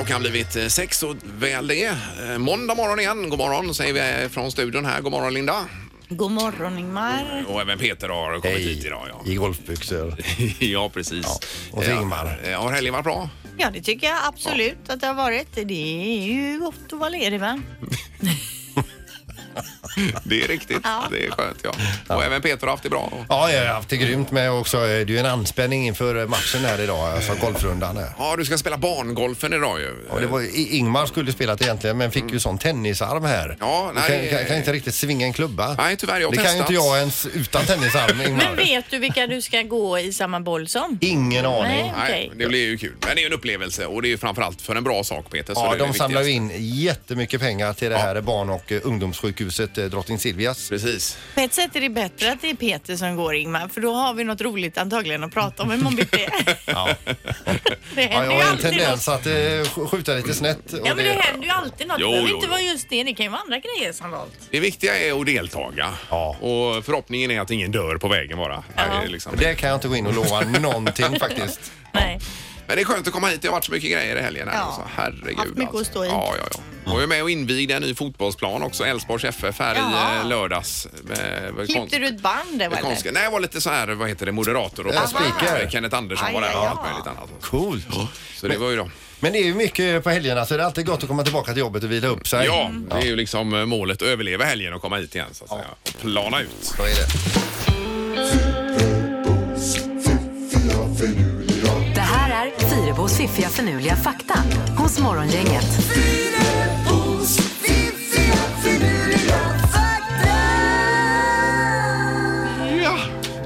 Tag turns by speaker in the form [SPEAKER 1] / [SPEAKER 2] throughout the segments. [SPEAKER 1] och har blivit eh, sex och väl det. Eh, Måndag morgon igen. God morgon säger vi eh, från studion här. God morgon Linda.
[SPEAKER 2] God morgon Ingmar.
[SPEAKER 1] Och även Peter har kommit hit idag. Ja,
[SPEAKER 3] i golfbyxor.
[SPEAKER 1] ja precis. Ja, Eh,
[SPEAKER 3] och så Ingmar.
[SPEAKER 1] Har helgen varit bra?
[SPEAKER 2] Ja, det tycker jag absolut att det har varit. Det är ju gott att vara ledig va?
[SPEAKER 1] Det är riktigt.
[SPEAKER 2] Ja.
[SPEAKER 1] Det är skönt ja. Och även Peter har haft det bra.
[SPEAKER 3] Ja, jag har haft det grymt med också. Eh, Det är ju en anspänning inför eh, matchen här idag,
[SPEAKER 1] Eh.
[SPEAKER 3] alltså golfrundan här.
[SPEAKER 1] Ja, du ska spela barngolfen idag ju.
[SPEAKER 3] Och det var, I- Ingmar skulle spela det egentligen men fick ju sån tennisarm här.
[SPEAKER 1] Mm. Ja,
[SPEAKER 3] Du
[SPEAKER 1] nej. eh,
[SPEAKER 3] kan, kan, kan inte riktigt svinga en klubba.
[SPEAKER 1] Nej, tyvärr, jag har
[SPEAKER 3] det kan ju
[SPEAKER 1] testat.
[SPEAKER 3] inte jag ens utan tennisarm,
[SPEAKER 2] Men
[SPEAKER 3] Ingmar.
[SPEAKER 2] vet du vilka du ska gå i samma boll som?
[SPEAKER 3] Ingen aning.
[SPEAKER 2] Nej.
[SPEAKER 1] Eh, Nej,
[SPEAKER 2] Okej.
[SPEAKER 1] det blir ju kul. Men det är ju en upplevelse och det är ju framförallt för en bra sak Peter. Så det
[SPEAKER 3] Ja,
[SPEAKER 1] är
[SPEAKER 3] de
[SPEAKER 1] det
[SPEAKER 3] samlar ju
[SPEAKER 1] viktigaste.
[SPEAKER 3] in jättemycket pengar till det här barn och eh, ungdomssjukhuset eh, Drottning Silvias.
[SPEAKER 1] Precis.
[SPEAKER 2] På ett sätt är det bättre att det är Peter som går Ingmar för då har vi något roligt antagligen att prata om imorgon bitti.
[SPEAKER 3] Ja.
[SPEAKER 2] Det
[SPEAKER 3] Ja,
[SPEAKER 2] händer
[SPEAKER 3] jag
[SPEAKER 2] ju
[SPEAKER 3] har en
[SPEAKER 2] alltid något.
[SPEAKER 3] tendens att eh, sk- skjuta lite snett. och
[SPEAKER 2] Ja men det
[SPEAKER 3] det-
[SPEAKER 2] händer ju alltid något.
[SPEAKER 1] Jo,
[SPEAKER 2] Det behöver
[SPEAKER 1] jo,
[SPEAKER 2] inte
[SPEAKER 1] jo.
[SPEAKER 2] vara just det. Det kan ju vara andra grejer som valt.
[SPEAKER 1] Det viktiga är att deltaga.
[SPEAKER 3] Ja.
[SPEAKER 1] Och förhoppningen är att ingen dör på vägen bara. Det är liksom-
[SPEAKER 3] det kan jag inte gå in och lova någonting faktiskt.
[SPEAKER 2] Nej.
[SPEAKER 1] Men det är skönt att komma hit. Det har varit så mycket grejer i helgen. Här,
[SPEAKER 2] Ja.
[SPEAKER 1] alltså. Herregud.
[SPEAKER 2] Haft mycket att stå i.
[SPEAKER 1] Ja, ja, ja. Jag var ju med och invigde en ny fotbollsplan också, Elfsborgs FF, här
[SPEAKER 2] Ja.
[SPEAKER 1] i eh, lördags. Eh, vad-
[SPEAKER 2] Klippte du ett band där
[SPEAKER 1] konst-
[SPEAKER 2] eller?
[SPEAKER 1] Nej, jag var lite så här, vad heter det, moderator och
[SPEAKER 3] Ja,
[SPEAKER 1] konstnär.
[SPEAKER 3] speaker.
[SPEAKER 1] Kenneth Andersson var
[SPEAKER 2] Aj,
[SPEAKER 1] där och
[SPEAKER 2] aj,
[SPEAKER 1] allt
[SPEAKER 2] ja.
[SPEAKER 1] möjligt annat. alltså.
[SPEAKER 3] Coolt.
[SPEAKER 1] Så det var ju då.
[SPEAKER 3] Men det är ju mycket på helgerna så det är alltid gott att komma tillbaka till jobbet och vila upp sig. Mm.
[SPEAKER 1] Ja, det är ju liksom eh, målet att överleva helgen och komma hit igen så att säga. Och plana ut.
[SPEAKER 3] Så är det.
[SPEAKER 4] Det här är Fyrabos fiffiga förnuliga fakta hos Morgongänget.
[SPEAKER 1] Ja.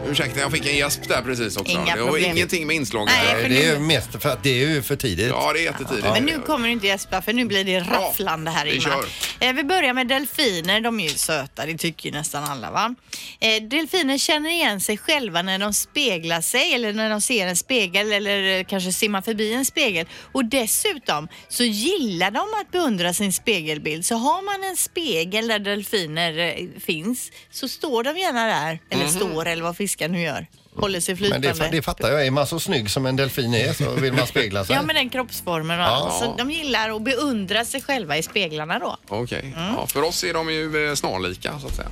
[SPEAKER 1] Ursäkta, jag fick en gäsp där precis också.
[SPEAKER 2] Inga
[SPEAKER 1] det var
[SPEAKER 2] problem.
[SPEAKER 1] ingenting med inslaget.
[SPEAKER 2] Nej,
[SPEAKER 1] där.
[SPEAKER 2] för
[SPEAKER 3] Det är ju mest för att det är ju för tidigt.
[SPEAKER 1] Ja, det är jättetidigt.
[SPEAKER 2] Men nu kommer du inte gäspa för nu blir det rafflande här
[SPEAKER 1] vi
[SPEAKER 2] Ingmar. Eh, Vi börjar med delfiner, de är ju söta, det tycker ju nästan alla va. Eh, Delfiner känner igen sig själva när de speglar sig eller när de ser en spegel eller eh, kanske simmar förbi en spegel. Och dessutom så gillar de att beundra sin spegelbild. Så har man en spegel där delfiner eh, finns så står de gärna där, eller står eller vad fiskar nu gör. Håller sig
[SPEAKER 3] Mhm. Men
[SPEAKER 2] flytande.
[SPEAKER 3] det, fa- det fattar jag. Är man så snygg som en delfin är så vill man spegla sig.
[SPEAKER 2] Ja, men den kroppsformen och allt. Så de gillar och beundrar sig själva i speglarna då.
[SPEAKER 1] Okej. Ja, för oss är de ju eh, snarlika så att säga.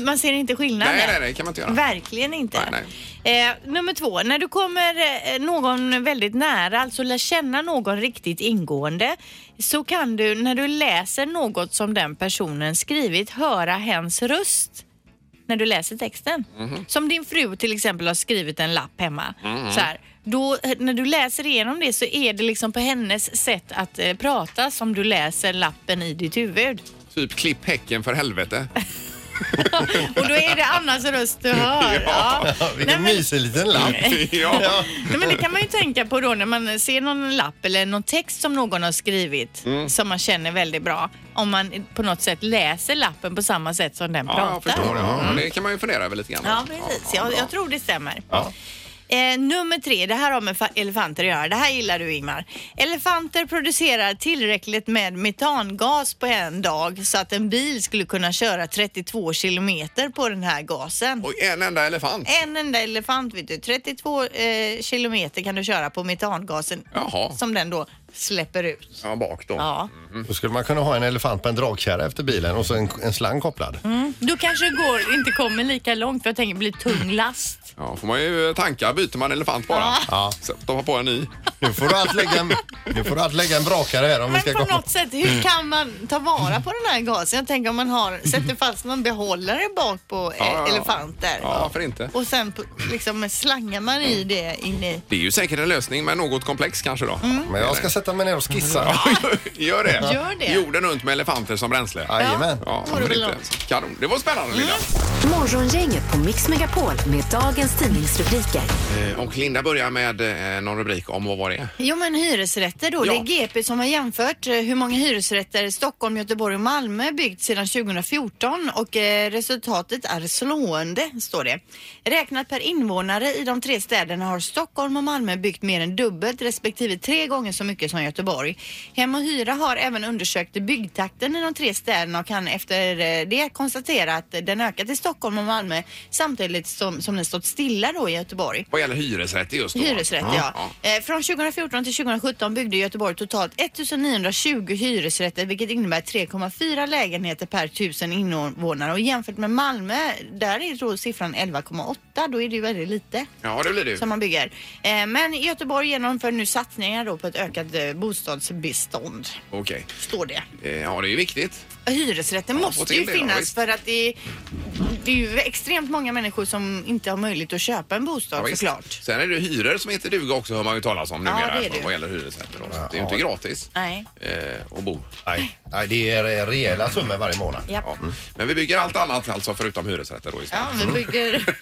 [SPEAKER 2] Man ser inte skillnaden.
[SPEAKER 1] Nej, nej, nej, det kan man inte göra.
[SPEAKER 2] Verkligen inte.
[SPEAKER 1] Nej,
[SPEAKER 2] Eh, nummer två, när du kommer eh, någon väldigt nära, alltså lär känna någon riktigt ingående, så kan du när du läser något som den personen skrivit höra hens röst när du läser texten.
[SPEAKER 1] Mhm.
[SPEAKER 2] Som din fru till exempel har skrivit en lapp hemma. Så här, då, eh, när du läser igenom det så är det liksom på hennes sätt att eh, prata som du läser lappen i ditt huvud.
[SPEAKER 1] Typ klipp häcken för helvete.
[SPEAKER 2] Och då är det Annas röst du hör. Ja. Nej,
[SPEAKER 3] Vilken
[SPEAKER 2] men,
[SPEAKER 3] mysig liten lapp.
[SPEAKER 1] ja.
[SPEAKER 2] nej, men det kan man ju tänka på då när man ser någon lapp eller någon text som någon har skrivit
[SPEAKER 1] Mm.
[SPEAKER 2] som man känner väldigt bra. Om man på något sätt läser lappen på samma sätt som den
[SPEAKER 1] ja, jag
[SPEAKER 2] pratar.
[SPEAKER 1] förstår. Ja. Det kan man ju fundera över lite grann.
[SPEAKER 2] Ja, precis.
[SPEAKER 1] Ja,
[SPEAKER 2] Jag,
[SPEAKER 1] bra.
[SPEAKER 2] jag tror det stämmer.
[SPEAKER 3] Ja.
[SPEAKER 2] Eh, nummer tre, det här har med fa- elefanter att göra. Det här gillar du Ingmar. Elefanter producerar tillräckligt med metangas på en dag så att en bil skulle kunna köra 32 kilometer på den här gasen.
[SPEAKER 1] Och en enda elefant.
[SPEAKER 2] En enda elefant, vet du. 32 eh, kilometer kan du köra på metangasen
[SPEAKER 1] Jaha.
[SPEAKER 2] som den då släpper ut.
[SPEAKER 1] Ja, bak då.
[SPEAKER 2] Ja.
[SPEAKER 3] Då skulle man kunna ha en elefant på en dragkärra efter bilen och så en, en slang kopplad.
[SPEAKER 2] Då kanske det går, inte kommer lika långt för jag tänker bli tung last.
[SPEAKER 1] Ja, får man ju tanka. Byter man elefant bara.
[SPEAKER 3] Ja.
[SPEAKER 1] Stoppa på en
[SPEAKER 2] Eh,
[SPEAKER 1] ny.
[SPEAKER 3] Nu får du allt lägga en, nu får du allt lägga en brakare här om vi
[SPEAKER 2] Men
[SPEAKER 3] ska
[SPEAKER 2] på
[SPEAKER 3] gå.
[SPEAKER 2] något sätt, hur kan man ta vara på den här gasen? Jag tänker om man har, sätter fast någon behållare bak på eh,
[SPEAKER 1] ja, ja.
[SPEAKER 2] elefanter.
[SPEAKER 1] Ja, varför inte?
[SPEAKER 2] Och sen p- liksom slangar man i det in i...
[SPEAKER 1] Det är ju säkert en lösning, men något komplex kanske då.
[SPEAKER 3] Men jag ska sätta mig ner och skissa.
[SPEAKER 1] Gör det.
[SPEAKER 2] Mm. Gör det.
[SPEAKER 1] Jorden runt med elefanter som bränsle.
[SPEAKER 3] Jajamän.
[SPEAKER 1] Ja,
[SPEAKER 2] Vore
[SPEAKER 1] men
[SPEAKER 2] väl
[SPEAKER 1] inte
[SPEAKER 2] något.
[SPEAKER 1] ens. Kanon. Det var spännande, Linda.
[SPEAKER 4] Morgongänget på Mix Megapol med dagens tidningsrubriker.
[SPEAKER 2] Mm.
[SPEAKER 1] Eh, Och Linda börjar med eh, någon rubrik om vad var det?
[SPEAKER 2] Jo men hyresrätter då.
[SPEAKER 1] Ja.
[SPEAKER 2] Det är GP som har jämfört eh, hur många hyresrätter i Stockholm, Göteborg och Malmö byggts sedan 2014 och eh, resultatet är slående, står det. Räknat per invånare i de tre städerna har Stockholm och Malmö byggt mer än dubbelt respektive tre gånger så mycket mycket som Göteborg. Hem och Hyra har även undersökt byggtakten i de tre städerna och kan efter eh, det konstatera att den ökat i Stockholm och Malmö samtidigt som, som den stått stilla då i Göteborg.
[SPEAKER 1] Vad gäller hyresrätter just då?
[SPEAKER 2] Hyresrätt, ja. Eh, Från 2014 till 2017 byggde Göteborg totalt 1920 hyresrätter vilket innebär 3,4 lägenheter per tusen invånare. Och jämfört med Malmö, där är då siffran 11,8. Då är det ju väldigt lite
[SPEAKER 1] Ja, det blir det ju.
[SPEAKER 2] som man bygger. Eh, Men Göteborg genomför nu satsningar då på ett ökat eh, bostadsbestånd,
[SPEAKER 1] Okej.
[SPEAKER 2] står det.
[SPEAKER 1] Eh, Ja, det är ju viktigt.
[SPEAKER 2] Hyresrätten
[SPEAKER 1] Ja, få
[SPEAKER 2] måste
[SPEAKER 1] till
[SPEAKER 2] ju
[SPEAKER 1] det då,
[SPEAKER 2] finnas
[SPEAKER 1] visst.
[SPEAKER 2] för att det är, det är ju extremt många människor som inte har möjlighet att köpa en bostad
[SPEAKER 1] Ja, visst.
[SPEAKER 2] såklart.
[SPEAKER 1] Sen är det hyror som heter duga också, hör man ju talas om
[SPEAKER 2] Ja,
[SPEAKER 1] numera.
[SPEAKER 2] det är det ju.
[SPEAKER 1] Vad gäller hyresrätter. Då. Så att det är ju
[SPEAKER 3] Ja.
[SPEAKER 1] inte gratis
[SPEAKER 2] Nej.
[SPEAKER 1] eh, att bo.
[SPEAKER 3] Nej, nej, det är rejäla summor varje månad.
[SPEAKER 2] Japp.
[SPEAKER 1] Ja. Men vi bygger allt annat alltså förutom hyresrätter då istället.
[SPEAKER 2] Ja, vi bygger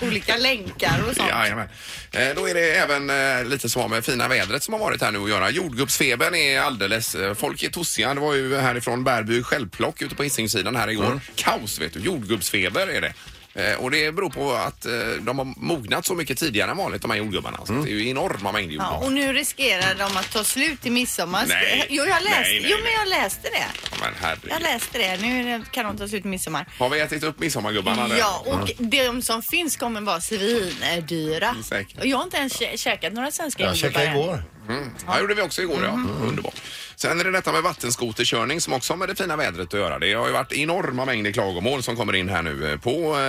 [SPEAKER 2] olika länkar och sånt.
[SPEAKER 1] Jajamän. Eh, Då är det även eh, lite som har med fina vädret som har varit här nu att göra. Jordgubbsfebern är alldeles... eh, Folk är tossiga. Det var ju härifrån Bärby självplock ute på Hisingssidan här igår.
[SPEAKER 2] Mm.
[SPEAKER 1] Kaos vet du. Jordgubbsfeber är det. Eh, Och det beror på att eh, de har mognat så mycket tidigare än vanligt de här jordgubbarna. Så Det är ju enorma mängder
[SPEAKER 2] Mm. Ja,
[SPEAKER 1] jordgubbar.
[SPEAKER 2] och nu riskerar de att ta slut i midsommar.
[SPEAKER 1] Nej.
[SPEAKER 2] Jo, jag läste,
[SPEAKER 1] Nej, nej,
[SPEAKER 2] jo,
[SPEAKER 1] nej.
[SPEAKER 2] men jag läste det.
[SPEAKER 1] Men
[SPEAKER 2] Jag
[SPEAKER 1] herregud.
[SPEAKER 2] läste det. Nu är det- kan de ta slut i midsommar.
[SPEAKER 1] Har vi ätit upp midsommargubbarna? där?
[SPEAKER 2] Ja, och de som finns kommer vara svindyra.
[SPEAKER 1] Mm, Säkert.
[SPEAKER 2] Och jag har inte ens kä- käkat några svenska
[SPEAKER 3] Jag
[SPEAKER 2] jordgubbar
[SPEAKER 3] checkade
[SPEAKER 2] än.
[SPEAKER 3] igår.
[SPEAKER 1] Ja, det gjorde vi också igår. Ja. Underbart. Sen är det detta med vattenskoterkörning som också har med det fina vädret att göra. Det har ju varit enorma mängder klagomål som kommer in här nu eh, på eh,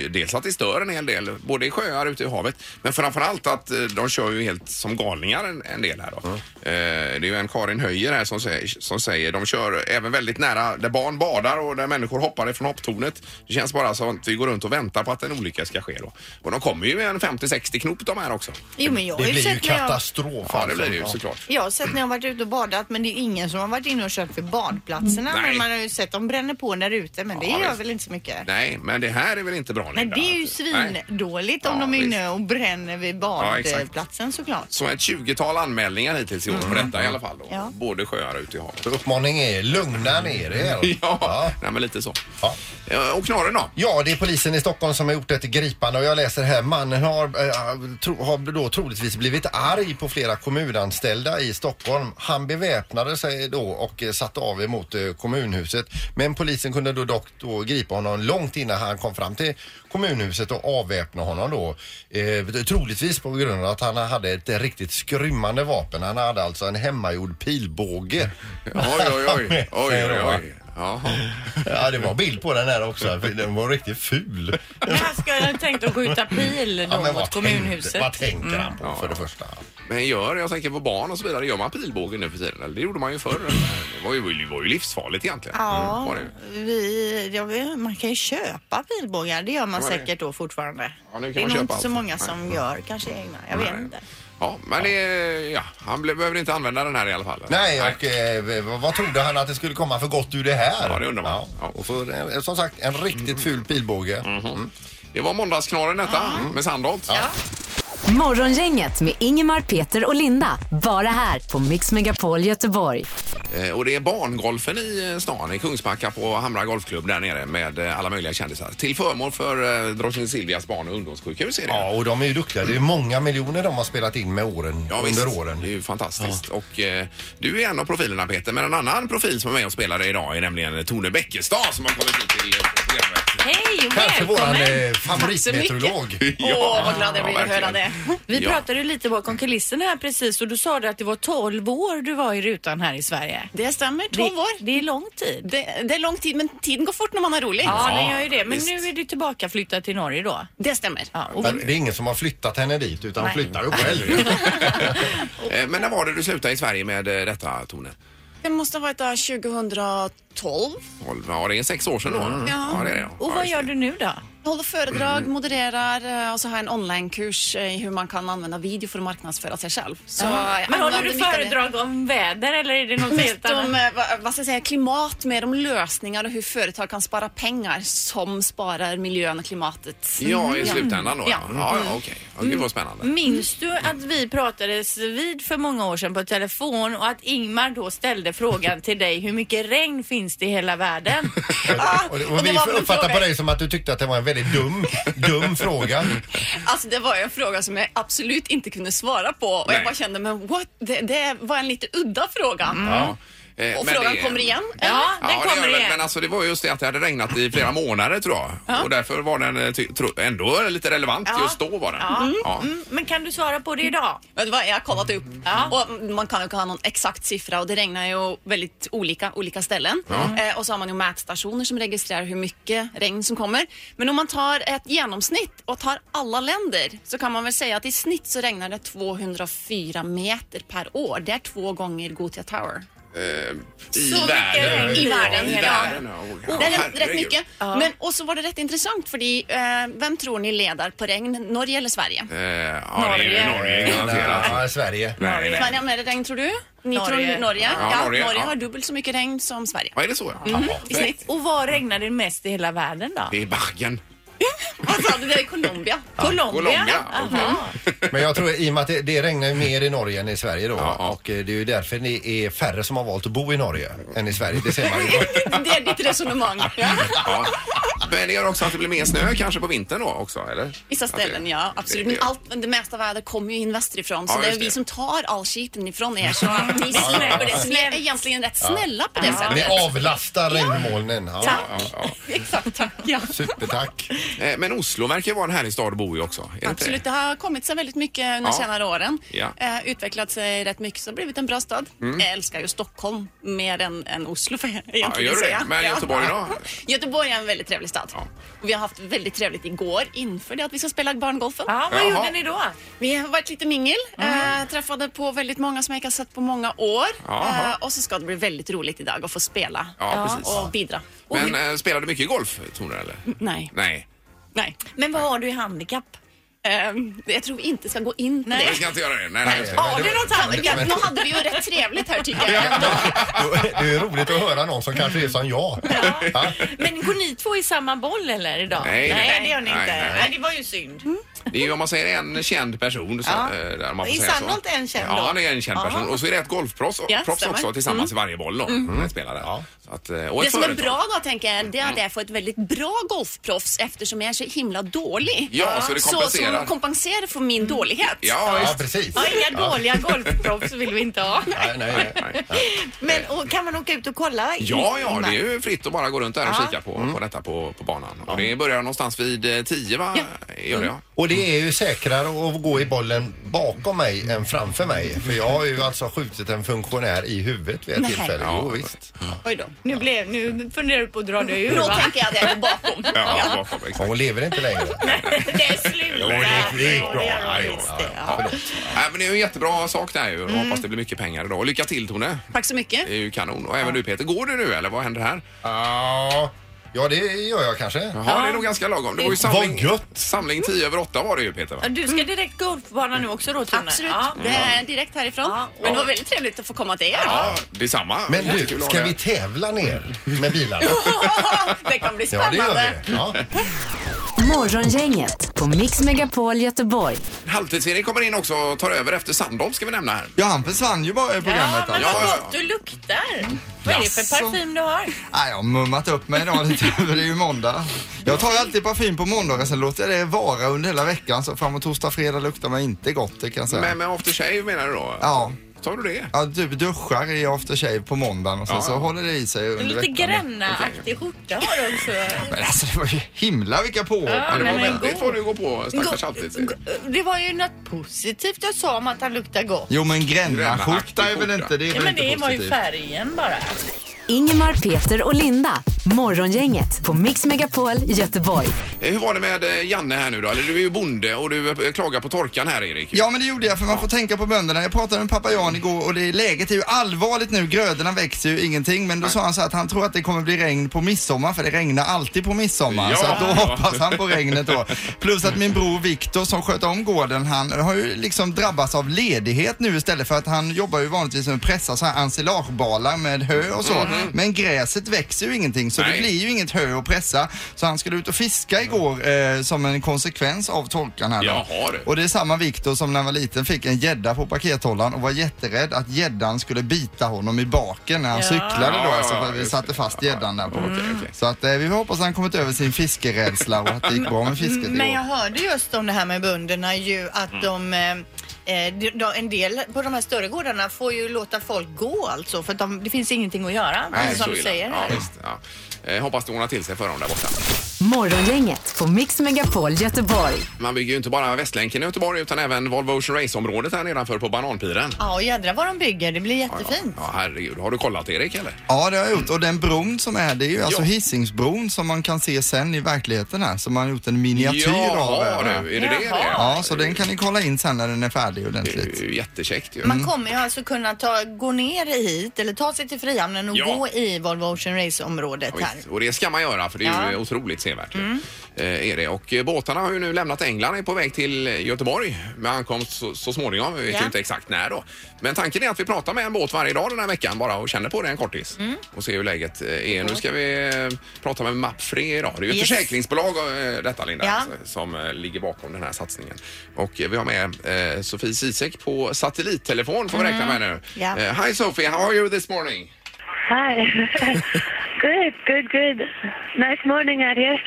[SPEAKER 1] ja, dels att det stör en hel del, både i sjöar och ute i havet, men framförallt att eh, de kör ju helt som galningar en, en del här då. Eh, Det är ju en Karin Höjer här som säger, som säger de kör även väldigt nära där barn badar och där människor hoppar ifrån hopptornet. Det känns bara som att vi går runt och väntar på att en olycka ska ske då. Och de kommer ju med en 50-60 knop de här också.
[SPEAKER 2] Jo, men jag
[SPEAKER 3] Det
[SPEAKER 2] har ju
[SPEAKER 3] blir ju
[SPEAKER 2] sett när jag...
[SPEAKER 3] katastrof.
[SPEAKER 1] Ja, det
[SPEAKER 3] alltså.
[SPEAKER 1] blir det ju såklart.
[SPEAKER 2] Jag har sett när jag har varit ute och badat men det är ju ingen som har varit inne och kört för badplatserna.
[SPEAKER 1] Nej.
[SPEAKER 2] Men man har ju sett de bränner på där ute men det
[SPEAKER 1] Ja,
[SPEAKER 2] gör
[SPEAKER 1] visst.
[SPEAKER 2] väl inte så mycket.
[SPEAKER 1] Nej, men det här är väl inte bra
[SPEAKER 2] Men
[SPEAKER 1] Linda?
[SPEAKER 2] det är ju
[SPEAKER 1] Nej.
[SPEAKER 2] svindåligt om
[SPEAKER 1] Ja,
[SPEAKER 2] de är
[SPEAKER 1] visst.
[SPEAKER 2] inne och bränner vid
[SPEAKER 1] Ja, exakt.
[SPEAKER 2] badplatsen såklart.
[SPEAKER 1] Så ett 20-tal anmälningar hittills i år på detta i alla fall. Då.
[SPEAKER 2] Mm. Ja.
[SPEAKER 1] Både sjöar och ute i havet.
[SPEAKER 3] Så uppmaning är lugna ner er.
[SPEAKER 1] Ja,
[SPEAKER 3] Ja.
[SPEAKER 1] Nej, men lite så.
[SPEAKER 3] Ja.
[SPEAKER 1] Eh, Och knorren då?
[SPEAKER 3] Ja, det är polisen i Stockholm som har gjort ett gripande och jag läser här. Mannen har, eh, tro, har då troligtvis blivit arg på flera kommunanställda i Stockholm. Han beväpnade sig då och eh, satte av emot eh, kommunhuset. Men polisen kunde då dock då gripa honom långt innan han kom fram till kommunhuset och avväpna honom då. Eh, troligtvis på grund av att han hade ett eh, riktigt skrymmande vapen. Han hade alltså en hemmagjord pilbåge.
[SPEAKER 1] Oj, oj, oj.
[SPEAKER 3] Med
[SPEAKER 1] oj,
[SPEAKER 3] sig
[SPEAKER 1] oj,
[SPEAKER 3] då, va?
[SPEAKER 1] oj. Jaha.
[SPEAKER 3] Ja, det var bild på den här också. för Den var riktigt ful.
[SPEAKER 2] Men han skulle ha tänkt att skjuta pil då
[SPEAKER 3] men
[SPEAKER 2] mot
[SPEAKER 3] vad
[SPEAKER 2] kommunhuset.
[SPEAKER 3] Tänkte, vad tänker han på
[SPEAKER 1] Mm.
[SPEAKER 3] för det första?
[SPEAKER 1] Men gör, jag tänker på barn och så vidare, gör man pilbågen nu för tiden? Eller det gjorde man ju förr. Det var ju, det var ju livsfarligt egentligen. Mm,
[SPEAKER 2] Ja,
[SPEAKER 1] Var det. ju.
[SPEAKER 2] vi, ja, vi- man kan ju köpa pilbågar. Det gör man
[SPEAKER 1] Ja, det-
[SPEAKER 2] säkert då fortfarande.
[SPEAKER 1] Ja, nu kan
[SPEAKER 2] det är
[SPEAKER 1] man
[SPEAKER 2] nog
[SPEAKER 1] köpa
[SPEAKER 2] inte så
[SPEAKER 1] allt.
[SPEAKER 2] många
[SPEAKER 1] Nej.
[SPEAKER 2] som gör kanske egna. Jag vet
[SPEAKER 1] Nej.
[SPEAKER 2] inte.
[SPEAKER 1] Ja, men det, ja, han blev, behöver inte använda den här i alla fall.
[SPEAKER 3] Nej, och eh, vad- vad trodde han att det skulle komma för gott ur det här?
[SPEAKER 1] Ja, det undrar man. Mm. Ja.
[SPEAKER 3] och för, eh, som sagt, en riktigt ful pilbåge.
[SPEAKER 1] Det var måndagsknorren detta med Sandholt.
[SPEAKER 2] Ja.
[SPEAKER 4] Morgongänget med Ingemar, Peter och Linda. Bara här på Mix Megapol Göteborg.
[SPEAKER 1] Eh, Och det är barngolfen i eh, stan, i Kungsbacka på Hamra Golfklubb där nere med eh, alla möjliga kändisar. Till förmån för eh, drottning Silvias barn och ungdomssjukhus är det.
[SPEAKER 3] Ja, och de är ju duktiga. Det är många miljoner de har spelat in med åren,
[SPEAKER 1] Ja, visst.
[SPEAKER 3] under åren.
[SPEAKER 1] Det är ju fantastiskt. Och eh, du är en av profilerna Peter, men en annan profil som är med och spelar idag är nämligen Tone Bäckestad som har kommit hit till eh, programmet.
[SPEAKER 2] Hej och
[SPEAKER 3] Kanske
[SPEAKER 2] välkommen!
[SPEAKER 3] våran eh,
[SPEAKER 2] Tack så mycket.
[SPEAKER 3] favoritmeteorolog.
[SPEAKER 2] Åh, vad glad jag blir att höra
[SPEAKER 1] verkligen.
[SPEAKER 2] det. Vi
[SPEAKER 1] Ja.
[SPEAKER 2] pratade ju lite bakom kulisserna här precis och du sa det att det var 12 år du var i rutan här i Sverige.
[SPEAKER 5] Det stämmer, 12
[SPEAKER 2] Det,
[SPEAKER 5] år.
[SPEAKER 2] det är lång tid.
[SPEAKER 5] Det, det är lång tid, men tiden går fort när man har roligt.
[SPEAKER 2] Ja,
[SPEAKER 1] Ja,
[SPEAKER 2] det gör ju det. Men
[SPEAKER 1] visst.
[SPEAKER 2] nu är du tillbaka flyttad till Norge då.
[SPEAKER 5] Det stämmer.
[SPEAKER 2] Ja, och
[SPEAKER 3] Men det är ingen som har flyttat henne dit utan hon flyttar upp själv.
[SPEAKER 1] Eh, Men när var det du slutade i Sverige med eh, detta Tone?
[SPEAKER 5] Det måste ha varit där 2012.
[SPEAKER 1] Tolv- Ja, det är sex år sedan då.
[SPEAKER 3] Mm.
[SPEAKER 1] Ja, det är det. Ja,
[SPEAKER 2] och vad
[SPEAKER 1] just
[SPEAKER 2] gör
[SPEAKER 1] det.
[SPEAKER 2] du nu då?
[SPEAKER 5] Jag håller föredrag,
[SPEAKER 2] Mm.
[SPEAKER 5] modererar eh, och så har jag en onlinekurs eh, i hur man kan använda video för att marknadsföra sig själv. Så jag
[SPEAKER 2] Men håller
[SPEAKER 5] använder
[SPEAKER 2] du
[SPEAKER 5] mycket av det.
[SPEAKER 2] föredrag om väder eller är det något helt
[SPEAKER 5] Mest om
[SPEAKER 2] annat?
[SPEAKER 5] eh, vad- vad ska jag säga, klimat, mer om lösningar och hur företag kan spara pengar som sparar miljön och klimatet.
[SPEAKER 1] Ja,
[SPEAKER 2] Mm.
[SPEAKER 1] i slutändan då. Ja,
[SPEAKER 5] Ja.
[SPEAKER 1] ja, ja okej. Ja, Gud vad spännande.
[SPEAKER 2] Minns du att vi pratades vid för många år sedan på telefon och att Ingmar då ställde frågan till dig hur mycket regn finns finns det i hela världen.
[SPEAKER 5] Ah,
[SPEAKER 3] Och, det-
[SPEAKER 5] och
[SPEAKER 3] och
[SPEAKER 5] det
[SPEAKER 3] vi
[SPEAKER 5] var väl en
[SPEAKER 3] uppfattar
[SPEAKER 5] fråga-
[SPEAKER 3] på dig som att du tyckte att det var en väldigt dum, dum fråga.
[SPEAKER 5] Alltså det var ju en fråga som jag absolut inte kunde svara på och
[SPEAKER 1] Nej.
[SPEAKER 5] jag bara kände men what? Det, det var en lite udda fråga.
[SPEAKER 1] Ja. Eh,
[SPEAKER 5] Och
[SPEAKER 1] men
[SPEAKER 5] frågan
[SPEAKER 1] det-
[SPEAKER 5] kommer igen.
[SPEAKER 2] Ja, den
[SPEAKER 1] Ja, det gör
[SPEAKER 2] kommer
[SPEAKER 1] det
[SPEAKER 2] igen.
[SPEAKER 1] Men alltså, det var just det att det hade regnat i flera månader tror jag. Och därför var den eh, ty- tro, ändå lite relevant
[SPEAKER 2] Ja.
[SPEAKER 1] just då var den.
[SPEAKER 2] Ja.
[SPEAKER 1] Ja.
[SPEAKER 2] Mm, men kan du svara på det idag?
[SPEAKER 5] Men det var, jag har kollat upp
[SPEAKER 2] Ja.
[SPEAKER 5] och man kan ju inte ha någon exakt siffra och det regnar ju väldigt olika, olika ställen.
[SPEAKER 1] Ja.
[SPEAKER 5] Eh, och så har man ju mätstationer som registrerar hur mycket regn som kommer. Men om man tar ett genomsnitt och tar alla länder så kan man väl säga att i snitt så regnar det 204 meter per år. Det är två gånger Gothia Tower.
[SPEAKER 1] Eh, I
[SPEAKER 5] mycket
[SPEAKER 1] världen.
[SPEAKER 5] regn i världen
[SPEAKER 1] I
[SPEAKER 5] hela
[SPEAKER 1] världen, ja.
[SPEAKER 5] Det är
[SPEAKER 1] Herregud.
[SPEAKER 5] rätt mycket. Men, och så var det rätt intressant för eh, vem tror ni leder på regn, Norge eller Sverige?
[SPEAKER 1] Eh, ja, det är ju Norge garanterat.
[SPEAKER 3] Ja, Sverige.
[SPEAKER 1] Nej, nej.
[SPEAKER 5] Sverige har mer regn tror du? Ni
[SPEAKER 2] Norge.
[SPEAKER 5] tror Norge?
[SPEAKER 1] Ja, Norge, ja.
[SPEAKER 5] har dubbelt så mycket regn som Sverige.
[SPEAKER 1] Ja, är det så? ja? Jaha.
[SPEAKER 5] I snitt.
[SPEAKER 2] Och var regnar det mest i hela världen då?
[SPEAKER 1] Det är Baggen.
[SPEAKER 5] Vad sa du? Det är Colombia.
[SPEAKER 2] Colombia?
[SPEAKER 1] Colombia, Mm. okej.
[SPEAKER 2] Aha.
[SPEAKER 3] Men jag tror i och med att det, det regnar ju mer i Norge än i Sverige då
[SPEAKER 1] Ja, ja.
[SPEAKER 3] och eh, det är ju därför det är färre som har valt att bo i Norge än i Sverige. Det ser man ju.
[SPEAKER 5] Det är ditt resonemang. Ja.
[SPEAKER 1] Ja. Men det gör också att det blir mer snö kanske på vintern då också, eller?
[SPEAKER 5] Vissa
[SPEAKER 1] Att det-
[SPEAKER 5] ställen, ja. Absolut.
[SPEAKER 1] det-
[SPEAKER 5] Men allt, men det mesta vädret kommer ju in västerifrån så
[SPEAKER 1] Ja,
[SPEAKER 5] det är
[SPEAKER 1] just det.
[SPEAKER 5] vi som tar all skiten ifrån er. Så att ni slipper det. Så vi är egentligen rätt snälla på det
[SPEAKER 3] Ni
[SPEAKER 5] sättet.
[SPEAKER 3] avlastar regnmolnen. Ja,
[SPEAKER 1] Ja, ja.
[SPEAKER 5] Exakt, tack. Ja.
[SPEAKER 3] supertack.
[SPEAKER 1] Eh, Men Oslo verkar ju vara en härlig stad att bo i också. Är det inte
[SPEAKER 5] Absolut,
[SPEAKER 1] det?
[SPEAKER 5] det har kommit sig väldigt mycket under
[SPEAKER 1] Ja.
[SPEAKER 5] senare åren.
[SPEAKER 1] Ja. Mm.
[SPEAKER 5] Eh, utvecklat sig rätt mycket så det har blivit en bra stad. Jag älskar ju Stockholm mer än, än Oslo får jag egentligen
[SPEAKER 1] gör du det?
[SPEAKER 5] säga.
[SPEAKER 1] Men
[SPEAKER 5] Ja.
[SPEAKER 1] Göteborg då?
[SPEAKER 5] Göteborg är en väldigt trevlig stad. Och vi har haft väldigt trevligt igår inför det att vi ska spela barngolfen.
[SPEAKER 2] Ja, vad
[SPEAKER 1] Jaha.
[SPEAKER 2] gjorde ni då?
[SPEAKER 5] Vi har varit lite mingel,
[SPEAKER 1] Mm.
[SPEAKER 5] eh, träffade på väldigt många som jag inte har sett på många år.
[SPEAKER 1] Jaha.
[SPEAKER 5] Eh, och så ska det bli väldigt roligt idag att få spela
[SPEAKER 1] Ja, precis.
[SPEAKER 5] och bidra. Och Mm,
[SPEAKER 1] Men
[SPEAKER 5] vi-
[SPEAKER 1] eh, spelar du mycket golf, tror du, eller?
[SPEAKER 5] nej,
[SPEAKER 1] Nej.
[SPEAKER 5] nej.
[SPEAKER 2] Men vad har du i handikapp?
[SPEAKER 5] Eh, jag tror vi inte ska gå in på
[SPEAKER 2] Nej.
[SPEAKER 5] det.
[SPEAKER 1] Vi ska inte göra det. Nej, nej. just det.
[SPEAKER 2] Har du något handikapp?
[SPEAKER 5] Ja, nu hade vi ju rätt trevligt här tycker jag.
[SPEAKER 3] Det är roligt att höra någon som kanske är som jag. Ja.
[SPEAKER 2] Men går ni två i samma boll eller idag?
[SPEAKER 1] Nej, nej.
[SPEAKER 2] det gör ni
[SPEAKER 1] Nej,
[SPEAKER 2] inte.
[SPEAKER 1] nej.
[SPEAKER 2] Nej, Mm. det var ju synd.
[SPEAKER 1] Det är ju om man säger en känd person. Så,
[SPEAKER 2] Ja.
[SPEAKER 1] eh, där man får
[SPEAKER 2] Är
[SPEAKER 1] säga
[SPEAKER 2] Sandholt en känd
[SPEAKER 1] Ja,
[SPEAKER 2] då?
[SPEAKER 1] han är en känd person.
[SPEAKER 2] Aha.
[SPEAKER 1] Och så är det ett golfproffs
[SPEAKER 5] Ja,
[SPEAKER 1] proffs
[SPEAKER 5] stämmer.
[SPEAKER 1] också tillsammans i varje boll då. Mm. Spelare. Så att, eh, och
[SPEAKER 5] Det
[SPEAKER 1] ett
[SPEAKER 5] som är
[SPEAKER 1] företag.
[SPEAKER 5] bra då tänker jag, det är att jag får ett väldigt bra golfproffs eftersom jag är så himla dålig.
[SPEAKER 1] Ja, så det kompenserar.
[SPEAKER 5] som kompenserar för min dålighet.
[SPEAKER 1] Ja,
[SPEAKER 3] Ja,
[SPEAKER 1] visst.
[SPEAKER 3] precis.
[SPEAKER 2] Ja, inga dåliga golfproffs vill vi inte ha.
[SPEAKER 3] Nej, nej, nej.
[SPEAKER 2] Men och, kan man åka ut och kolla?
[SPEAKER 1] Ja, ja, det är ju fritt att bara gå runt där och kika på,
[SPEAKER 2] Mm.
[SPEAKER 1] på detta på, på banan. Och det börjar någonstans vid eh, 10 va? Gör det, ja.
[SPEAKER 3] Och det är ju säkrare att gå i bollen bakom mig än framför mig. För jag har ju alltså skjutit en funktionär i huvudet vid ett
[SPEAKER 5] Nej.
[SPEAKER 3] tillfälle.
[SPEAKER 1] Ja.
[SPEAKER 3] Jo, visst.
[SPEAKER 5] Oj då.
[SPEAKER 2] Nu, blev, nu funderar du på att dra dig ur
[SPEAKER 5] Då
[SPEAKER 2] va?
[SPEAKER 5] tänker jag att jag är bakom.
[SPEAKER 1] Ja, bakom,
[SPEAKER 3] Ja,
[SPEAKER 1] exakt.
[SPEAKER 3] Hon lever inte längre.
[SPEAKER 2] Det är slut.
[SPEAKER 1] Jo, det är
[SPEAKER 2] Ja, det är det visst det, ja.
[SPEAKER 1] Ja. Nej, men det är ju en jättebra sak det här ju. Hoppas det blir mycket pengar idag. Och Lycka till Tone.
[SPEAKER 5] Tack så mycket.
[SPEAKER 1] Det är ju kanon. Och även du Peter, går du nu eller vad händer här?
[SPEAKER 3] Ja, ja det gör jag kanske.
[SPEAKER 1] Jaha, det är nog ganska lagom. Det var ju
[SPEAKER 3] Vad
[SPEAKER 1] samling,
[SPEAKER 3] gött.
[SPEAKER 1] samling 10 över 8 var det ju Peter va?
[SPEAKER 2] Ja, Du ska direkt gå upp på banan nu också då Tone?
[SPEAKER 5] Absolut.
[SPEAKER 2] Ja.
[SPEAKER 5] Det är direkt härifrån.
[SPEAKER 2] Ja.
[SPEAKER 5] Men det var väldigt trevligt att få komma till er.
[SPEAKER 1] Ja, detsamma.
[SPEAKER 3] Men
[SPEAKER 1] Jättekul
[SPEAKER 3] du,
[SPEAKER 1] att ha
[SPEAKER 3] ska
[SPEAKER 1] det.
[SPEAKER 3] vi tävla ner med bilarna?
[SPEAKER 5] det kan bli
[SPEAKER 3] Ja, det gör
[SPEAKER 5] spännande.
[SPEAKER 3] vi. Ja.
[SPEAKER 4] Morgongänget på Mix Megapol Göteborg.
[SPEAKER 1] Halvtids-Erik kommer in också och tar över efter Sandholm ska vi nämna här.
[SPEAKER 6] Ja, han försvann ju bara i
[SPEAKER 2] Ja,
[SPEAKER 6] programmet.
[SPEAKER 2] men
[SPEAKER 6] alltså.
[SPEAKER 1] Ja, ja, ja.
[SPEAKER 2] vad gott du luktar. Vad är det för
[SPEAKER 6] Jaså?
[SPEAKER 2] parfym du har?
[SPEAKER 6] Nej, jag har mummat upp mig idag lite, för det är ju måndag. Jag tar ju alltid parfym på måndagar, sen låter jag det vara under hela veckan. Så framåt torsdag, fredag luktar mig inte gott, det kan jag säga.
[SPEAKER 1] Men med after shave menar du då?
[SPEAKER 6] Ja.
[SPEAKER 1] Tar du det?
[SPEAKER 6] Jag typ duschar i after shave på måndagen och sen
[SPEAKER 1] Ja.
[SPEAKER 6] så håller det i sig under
[SPEAKER 2] Lite
[SPEAKER 6] veckan.
[SPEAKER 2] Gränna-aktig skjorta har du också.
[SPEAKER 6] Men alltså det var ju himla vilka påhopp.
[SPEAKER 1] Ja, det var
[SPEAKER 2] men en
[SPEAKER 1] väldigt
[SPEAKER 2] god-
[SPEAKER 1] vad du går på stackars
[SPEAKER 2] Go-
[SPEAKER 1] Halvtids-Erik.
[SPEAKER 2] Det var ju något positivt jag sa om att han luktar gott.
[SPEAKER 6] Jo men Gränna-skjorta är väl
[SPEAKER 1] Gränna-aktig
[SPEAKER 6] inte, det är
[SPEAKER 2] Ja,
[SPEAKER 6] väl
[SPEAKER 2] men det
[SPEAKER 6] inte
[SPEAKER 2] var ju
[SPEAKER 6] positivt.
[SPEAKER 2] färgen bara.
[SPEAKER 4] Ingemar, Peter och Linda. Morgongänget på Mix Megapol Göteborg.
[SPEAKER 1] Eh, Hur var det med eh, Janne här nu då? Eller du är ju bonde och du eh, klagar på torkan här Erik.
[SPEAKER 6] Ja men det gjorde jag för man får tänka på bönderna. Jag pratade med pappa Jan igår och det, läget är ju allvarligt nu. Grödorna växer ju ingenting men då sa han så att han tror att det kommer bli regn på midsommar för det regnar alltid på midsommar.
[SPEAKER 1] Ja.
[SPEAKER 6] Så att då hoppas han på regnet då. Plus att min bror Viktor som sköt om gården han har ju liksom drabbats av ledighet nu istället för att han jobbar ju vanligtvis med att pressa så här ensilagebalar med hö och så. Men gräset växer ju ingenting så så
[SPEAKER 1] Mm. Nej.
[SPEAKER 6] det blir ju inget hö att pressa. Så han skulle ut och fiska igår eh, som en konsekvens av torkan här då.
[SPEAKER 1] Jaha, du.
[SPEAKER 6] Och det är samma Viktor som när han var liten fick en gädda på pakethållaren och var jätterädd att gäddan skulle bita honom i baken när han
[SPEAKER 2] Ja. Mm.
[SPEAKER 6] cyklade då.
[SPEAKER 1] Ja,
[SPEAKER 6] Alltså,
[SPEAKER 1] ja,
[SPEAKER 6] för vi
[SPEAKER 1] just
[SPEAKER 6] satte
[SPEAKER 1] det.
[SPEAKER 6] fast gäddan där på.
[SPEAKER 1] Okej, okej.
[SPEAKER 6] Så att eh, vi hoppas att han kommit över sin fiskerädsla och att det gick bra med fisket igår.
[SPEAKER 2] Mm. Men jag hörde just om det här med bönderna ju att de eh, eh, de, de, en del på de här större gårdarna får ju låta folk gå alltså för att de, det finns ingenting att göra.
[SPEAKER 1] Nej,
[SPEAKER 2] som
[SPEAKER 1] så
[SPEAKER 2] du
[SPEAKER 1] illa.
[SPEAKER 2] säger
[SPEAKER 1] ja,
[SPEAKER 2] här.
[SPEAKER 1] visst, ja. Eh, Hoppas det ordnar till sig för dem där borta.
[SPEAKER 4] Morgongänget på Mix Megapol Göteborg.
[SPEAKER 1] Man bygger ju inte bara Västlänken i Göteborg utan även Volvo Ocean Race-området här nedanför på Bananpiren.
[SPEAKER 2] Ja, och jädra vad de bygger. Det blir jättefint.
[SPEAKER 1] Ja, herregud. Har du kollat Erik eller?
[SPEAKER 6] Ja, det har jag gjort. Och den bron som är, det är ju alltså
[SPEAKER 1] Ja.
[SPEAKER 6] Hisingsbron som man kan se sen i verkligheten här. Som man har gjort en miniatyr av.
[SPEAKER 1] Jaha,
[SPEAKER 6] här.
[SPEAKER 1] du. Är det det det
[SPEAKER 2] Jaha.
[SPEAKER 1] är?
[SPEAKER 6] Ja, så den kan ni kolla in sen när den är färdig
[SPEAKER 1] Det är
[SPEAKER 6] ordentligt.
[SPEAKER 1] ju jättekäckt ju.
[SPEAKER 2] Man kommer ju alltså kunna ta, gå ner hit eller ta sig till Frihamnen och
[SPEAKER 1] Ja.
[SPEAKER 2] gå i Volvo Ocean Race-området
[SPEAKER 1] Ja,
[SPEAKER 2] här.
[SPEAKER 1] visst. Och det ska man göra för det är ju
[SPEAKER 2] Ja. Mm.
[SPEAKER 1] otroligt sevärt. ju. Eh, är det. Och eh, båtarna har ju nu lämnat England är på väg till eh, Göteborg med ankomst så, så småningom. Vi vet
[SPEAKER 2] Ja.
[SPEAKER 1] ju inte exakt när då. Men tanken är att vi pratar med en båt varje dag den här veckan bara och känner på det en kortis
[SPEAKER 2] Mm.
[SPEAKER 1] och ser hur läget eh, är. Nu ska vi eh, prata med Mapfre idag. Det är ju ett
[SPEAKER 2] Yes.
[SPEAKER 1] försäkringsbolag eh, detta Linda
[SPEAKER 2] Ja.
[SPEAKER 1] alltså, som eh, ligger bakom den här satsningen. Och eh, vi har med eh, Sofie Zizek på satellittelefon får vi räkna med nu.
[SPEAKER 2] Mm. Ja.
[SPEAKER 1] Eh, Hi Sophie, how are you this morning?
[SPEAKER 7] Hi. good, good, good. Nice morning out here.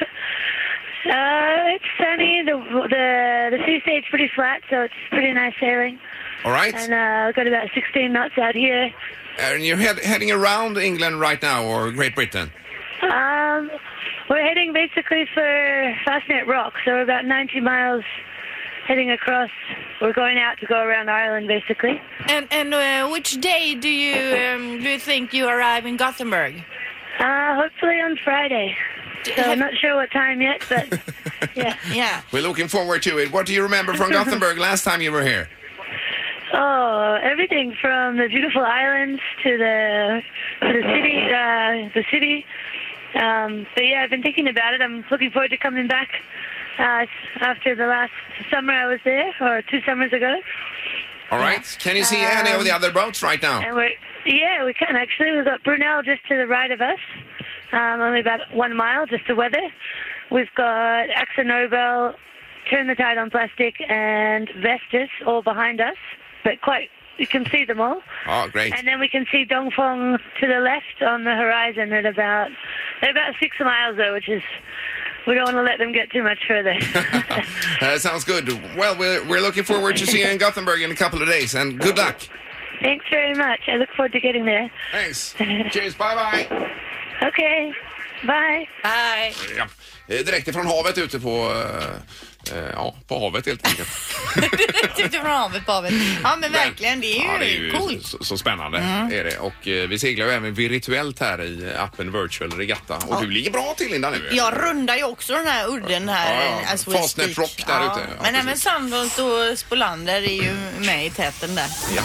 [SPEAKER 7] Uh, it's sunny. The the the sea stays pretty flat, so it's pretty nice sailing.
[SPEAKER 1] All right.
[SPEAKER 7] And uh, we've got about 16 knots out here.
[SPEAKER 1] And you're head, heading around England right now or Great Britain?
[SPEAKER 7] Um, we're heading basically for Fastnet Rock, so we're about 90 miles heading across. We're going out to go around Ireland, basically.
[SPEAKER 2] And, and uh, which day do you, um, do you think you arrive in Gothenburg?
[SPEAKER 7] Uh, hopefully on Friday. So I'm not sure what time yet, but yeah.
[SPEAKER 2] Yeah.
[SPEAKER 1] We're looking forward to it. What do you remember from Gothenburg last time you were here?
[SPEAKER 7] Oh, everything from the beautiful islands to the to the city, uh, the city. Um, but yeah, I've been thinking about it. I'm looking forward to coming back uh, after the last summer I was there, or two summers ago.
[SPEAKER 1] All right. Can you see any of the other boats right now?
[SPEAKER 7] And we're yeah, we can actually. We've got Brunel just to the right of us, um, only about one mile, just to weather. We've got Axa Nobel, Turn the Tide on Plastic, and Vestas all behind us, but quite you can see them all.
[SPEAKER 1] Oh, great.
[SPEAKER 7] And then we can see Dongfeng to the left on the horizon at about at about six miles though, which is we don't want to let them get too much further.
[SPEAKER 1] Uh, sounds good. Well, we're, we're looking forward to seeing you in Gothenburg in a couple of days, and good luck.
[SPEAKER 7] Thanks very much. I look forward to getting there.
[SPEAKER 1] Thanks. Cheers. Bye, bye.
[SPEAKER 7] Okay. Bye.
[SPEAKER 2] Bye.
[SPEAKER 1] Ja. eh, Direkt ifrån havet ute på... eh, eh, Ja, på havet helt enkelt.
[SPEAKER 2] Titta från havet på havet. Ja men verkligen, det är ju,
[SPEAKER 1] ja,
[SPEAKER 2] coolt. Mm.
[SPEAKER 1] Så, så spännande är det. Och eh, vi seglar ju även virtuellt här i appen Virtual Regatta. Och du ligger bra till Linda nu.
[SPEAKER 2] Jag rundar ju också den här udden här.
[SPEAKER 1] Ja, ja.
[SPEAKER 2] as we
[SPEAKER 1] Fastnet
[SPEAKER 2] speak.
[SPEAKER 1] Rock där ute. Ja,
[SPEAKER 2] men
[SPEAKER 1] precis.
[SPEAKER 2] även Sandholt och Spolander är ju med i täten där.
[SPEAKER 1] Ja.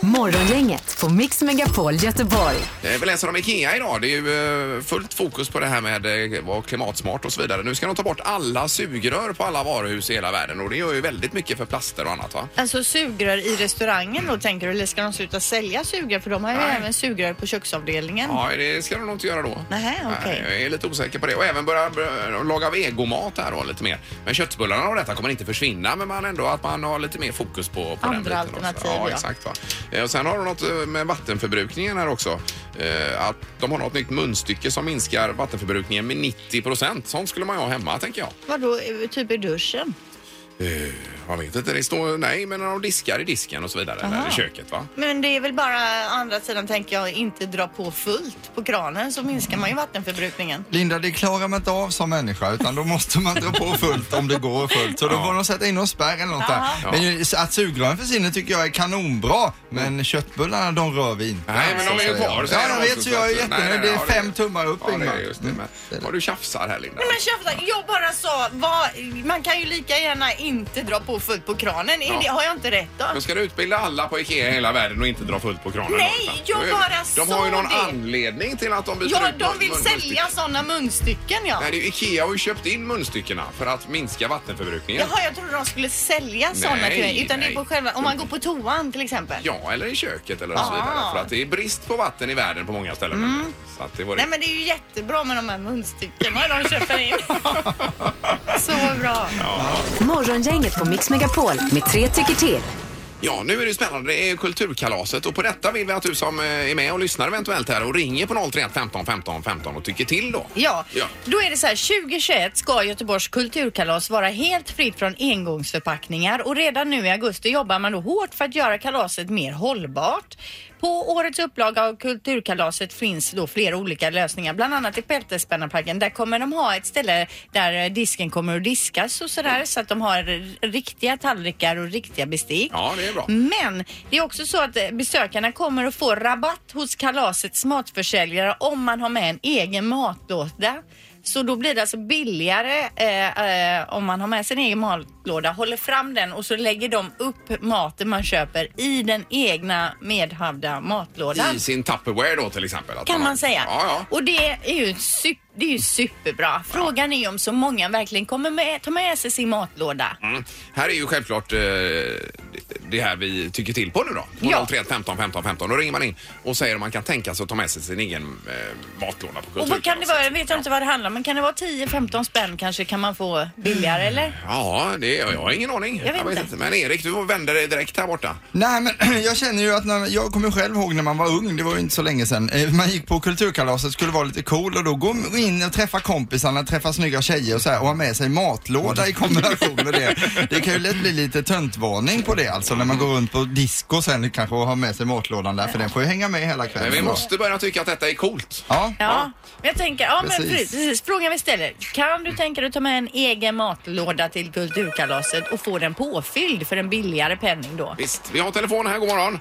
[SPEAKER 4] Morgongänget på Mix Megapol Göteborg.
[SPEAKER 1] Eh, Vi läser om IKEA idag. Det är ju eh, fullt fokus på det här med eh, vad klimatsmart och så vidare. Nu ska de ta bort alla sugrör på alla varuhus i hela världen och det gör ju väldigt mycket för plaster och annat va?
[SPEAKER 2] Alltså sugrör i restaurangen då tänker du? Eller ska de sluta sälja sugrör? För de har ju
[SPEAKER 1] Nej.
[SPEAKER 2] även sugrör på köksavdelningen.
[SPEAKER 1] Ja, det ska de nog inte göra då.
[SPEAKER 2] Nähä, okej.
[SPEAKER 1] Nej, Jag är lite osäker på det. Och även börja eh, laga vegomat här då lite mer. Men köttbullarna och detta kommer inte försvinna men man ändå att man har lite mer fokus på, på den biten
[SPEAKER 2] Andra
[SPEAKER 1] också.
[SPEAKER 2] alternativ,
[SPEAKER 1] Ja,
[SPEAKER 2] ja.
[SPEAKER 1] exakt va. Eh, Och sen har de något eh, med vattenförbrukningen här också. Eh, Att de har något nytt munstycke som minskar vattenförbrukningen med 90 procent. Sånt skulle man ju ha hemma tänker jag.
[SPEAKER 2] Vadå, eh, typ i duschen?
[SPEAKER 1] Eh, Jag vet inte, det står nej men när de diskar i disken och så vidare. Eller i köket va?
[SPEAKER 2] Men det är väl bara, å andra sidan tänker jag, inte dra på fullt på kranen så minskar man ju vattenförbrukningen.
[SPEAKER 6] Linda, det klarar man inte av som människa utan då måste man dra på fullt om det går fullt. Så då får de sätta in någon spärr eller något där.
[SPEAKER 2] Ja.
[SPEAKER 6] Men ju- att sugrören försvinner tycker jag är kanonbra. Men köttbullarna de rör vi inte.
[SPEAKER 1] Nej, men de är ju
[SPEAKER 6] Så säger
[SPEAKER 1] kvar,
[SPEAKER 6] Ja,
[SPEAKER 1] säger de
[SPEAKER 6] jag vet
[SPEAKER 1] också,
[SPEAKER 6] så
[SPEAKER 1] så
[SPEAKER 6] jag är
[SPEAKER 1] att- Nej, nej,
[SPEAKER 6] jättenöjd. Det
[SPEAKER 1] ja,
[SPEAKER 6] är
[SPEAKER 1] det-
[SPEAKER 6] fem tummar upp
[SPEAKER 1] Ja, det
[SPEAKER 6] Ingmar.
[SPEAKER 1] är just det. Men, vad du tjafsar här Linda.
[SPEAKER 2] Men tjafsar, jag bara sa, vad, man kan ju lika gärna inte dra på fullt på kranen. Är
[SPEAKER 1] Ja.
[SPEAKER 2] det, har jag inte rätt då?
[SPEAKER 1] Men ska du utbilda alla på IKEA i hela världen och inte dra fullt på kranen?
[SPEAKER 2] Nej,
[SPEAKER 1] då?
[SPEAKER 2] jag
[SPEAKER 1] Nu är-
[SPEAKER 2] bara
[SPEAKER 1] De
[SPEAKER 2] sa
[SPEAKER 1] har ju någon
[SPEAKER 2] det.
[SPEAKER 1] anledning till att de byter
[SPEAKER 2] Ja,
[SPEAKER 1] ut
[SPEAKER 2] de vill
[SPEAKER 1] munstycken.
[SPEAKER 2] sälja sådana munstycken ja.
[SPEAKER 1] Nej, det är ju IKEA har ju köpt in munstyckena för att minska vattenförbrukningen.
[SPEAKER 2] Jaha, jag trodde de skulle sälja sådana till mig. Utan det
[SPEAKER 1] nej.
[SPEAKER 2] är på själva, om man går på toan till exempel.
[SPEAKER 1] Ja, eller i köket eller så
[SPEAKER 2] Ah. Mm.
[SPEAKER 1] vidare. För att det är brist på vatten i världen på många ställen. Så att det var det.
[SPEAKER 2] Nej men det är ju jättebra med de här munstyckena de köper in. Så bra.
[SPEAKER 4] Morgongänget på Mix Megapol med tre tycker till.
[SPEAKER 1] Ja, nu är det ju spännande. Det är ju Kulturkalaset och på detta vill vi att du som eh, är med och lyssnar eventuellt här och ringer på 031 15 15 15 och tycker till då.
[SPEAKER 2] Ja,
[SPEAKER 1] Ja.
[SPEAKER 2] då är det så här 2021 ska Göteborgs kulturkalas vara helt fritt från engångsförpackningar och redan nu i augusti jobbar man då hårt för att göra kalaset mer hållbart. På årets upplaga av Kulturkalaset finns då flera olika lösningar, bland annat i Peltespännarparken. Där kommer de ha ett ställe där eh, disken kommer att diskas och sådär så att de har eh, riktiga tallrikar och riktiga bestick.
[SPEAKER 1] Ja, det är bra.
[SPEAKER 2] Men det är också så att eh, besökarna kommer att få rabatt hos kalasets matförsäljare om man har med en egen matlåda. Så då blir det alltså billigare eh, eh, om man har med sin egen matlåda, håller fram den och så lägger de upp maten man köper i den egna medhavda matlådan.
[SPEAKER 1] I sin Tupperware då till exempel. att
[SPEAKER 2] Kan
[SPEAKER 1] har-
[SPEAKER 2] man säga.
[SPEAKER 1] Ja, ja.
[SPEAKER 2] Och det är ju, sup- det är ju superbra. Frågan är ju om så många verkligen kommer med, ta med sig sin matlåda.
[SPEAKER 1] Mm. Här är ju självklart eh, det- det här vi tycker till på nu då. På
[SPEAKER 2] Ja.
[SPEAKER 1] 031 15 15 15. Då ringer man in och säger om man kan tänka sig att ta med sig sin egen eh, matlåda på
[SPEAKER 2] Och vad kan det
[SPEAKER 1] Kulturkalaset.
[SPEAKER 2] vara? Jag vet inte vad det handlar om, men kan det vara 10-15 spänn kanske kan man få billigare eller?
[SPEAKER 1] Ja, det, jag har ingen aning.
[SPEAKER 2] Jag vet inte.
[SPEAKER 1] Men Erik, du vänder dig direkt här borta.
[SPEAKER 6] Nej men jag känner ju att när, jag kommer själv ihåg när man var ung, det var ju inte så länge sedan. Eh, Man gick på kulturkalaset, skulle vara lite cool och då går man in och träffar kompisarna, träffar snygga tjejer och så här och har med sig matlåda i kombination med det. Det kan ju lätt bli lite töntvarning på det alltså när man går runt på disco sen kanske och har med sig matlådan där för den får ju hänga med hela kvällen.
[SPEAKER 1] Men vi
[SPEAKER 6] då.
[SPEAKER 1] måste börja tycka att detta är coolt.
[SPEAKER 6] Ja.
[SPEAKER 2] Ja, men jag tänker, ja men
[SPEAKER 6] Precis.
[SPEAKER 2] precis. precis. Frågan vi ställer, kan du tänka dig att ta med en egen matlåda till Kulturkalaset och få den påfylld för en billigare penning då?
[SPEAKER 1] Visst, vi har telefon här. God morgon.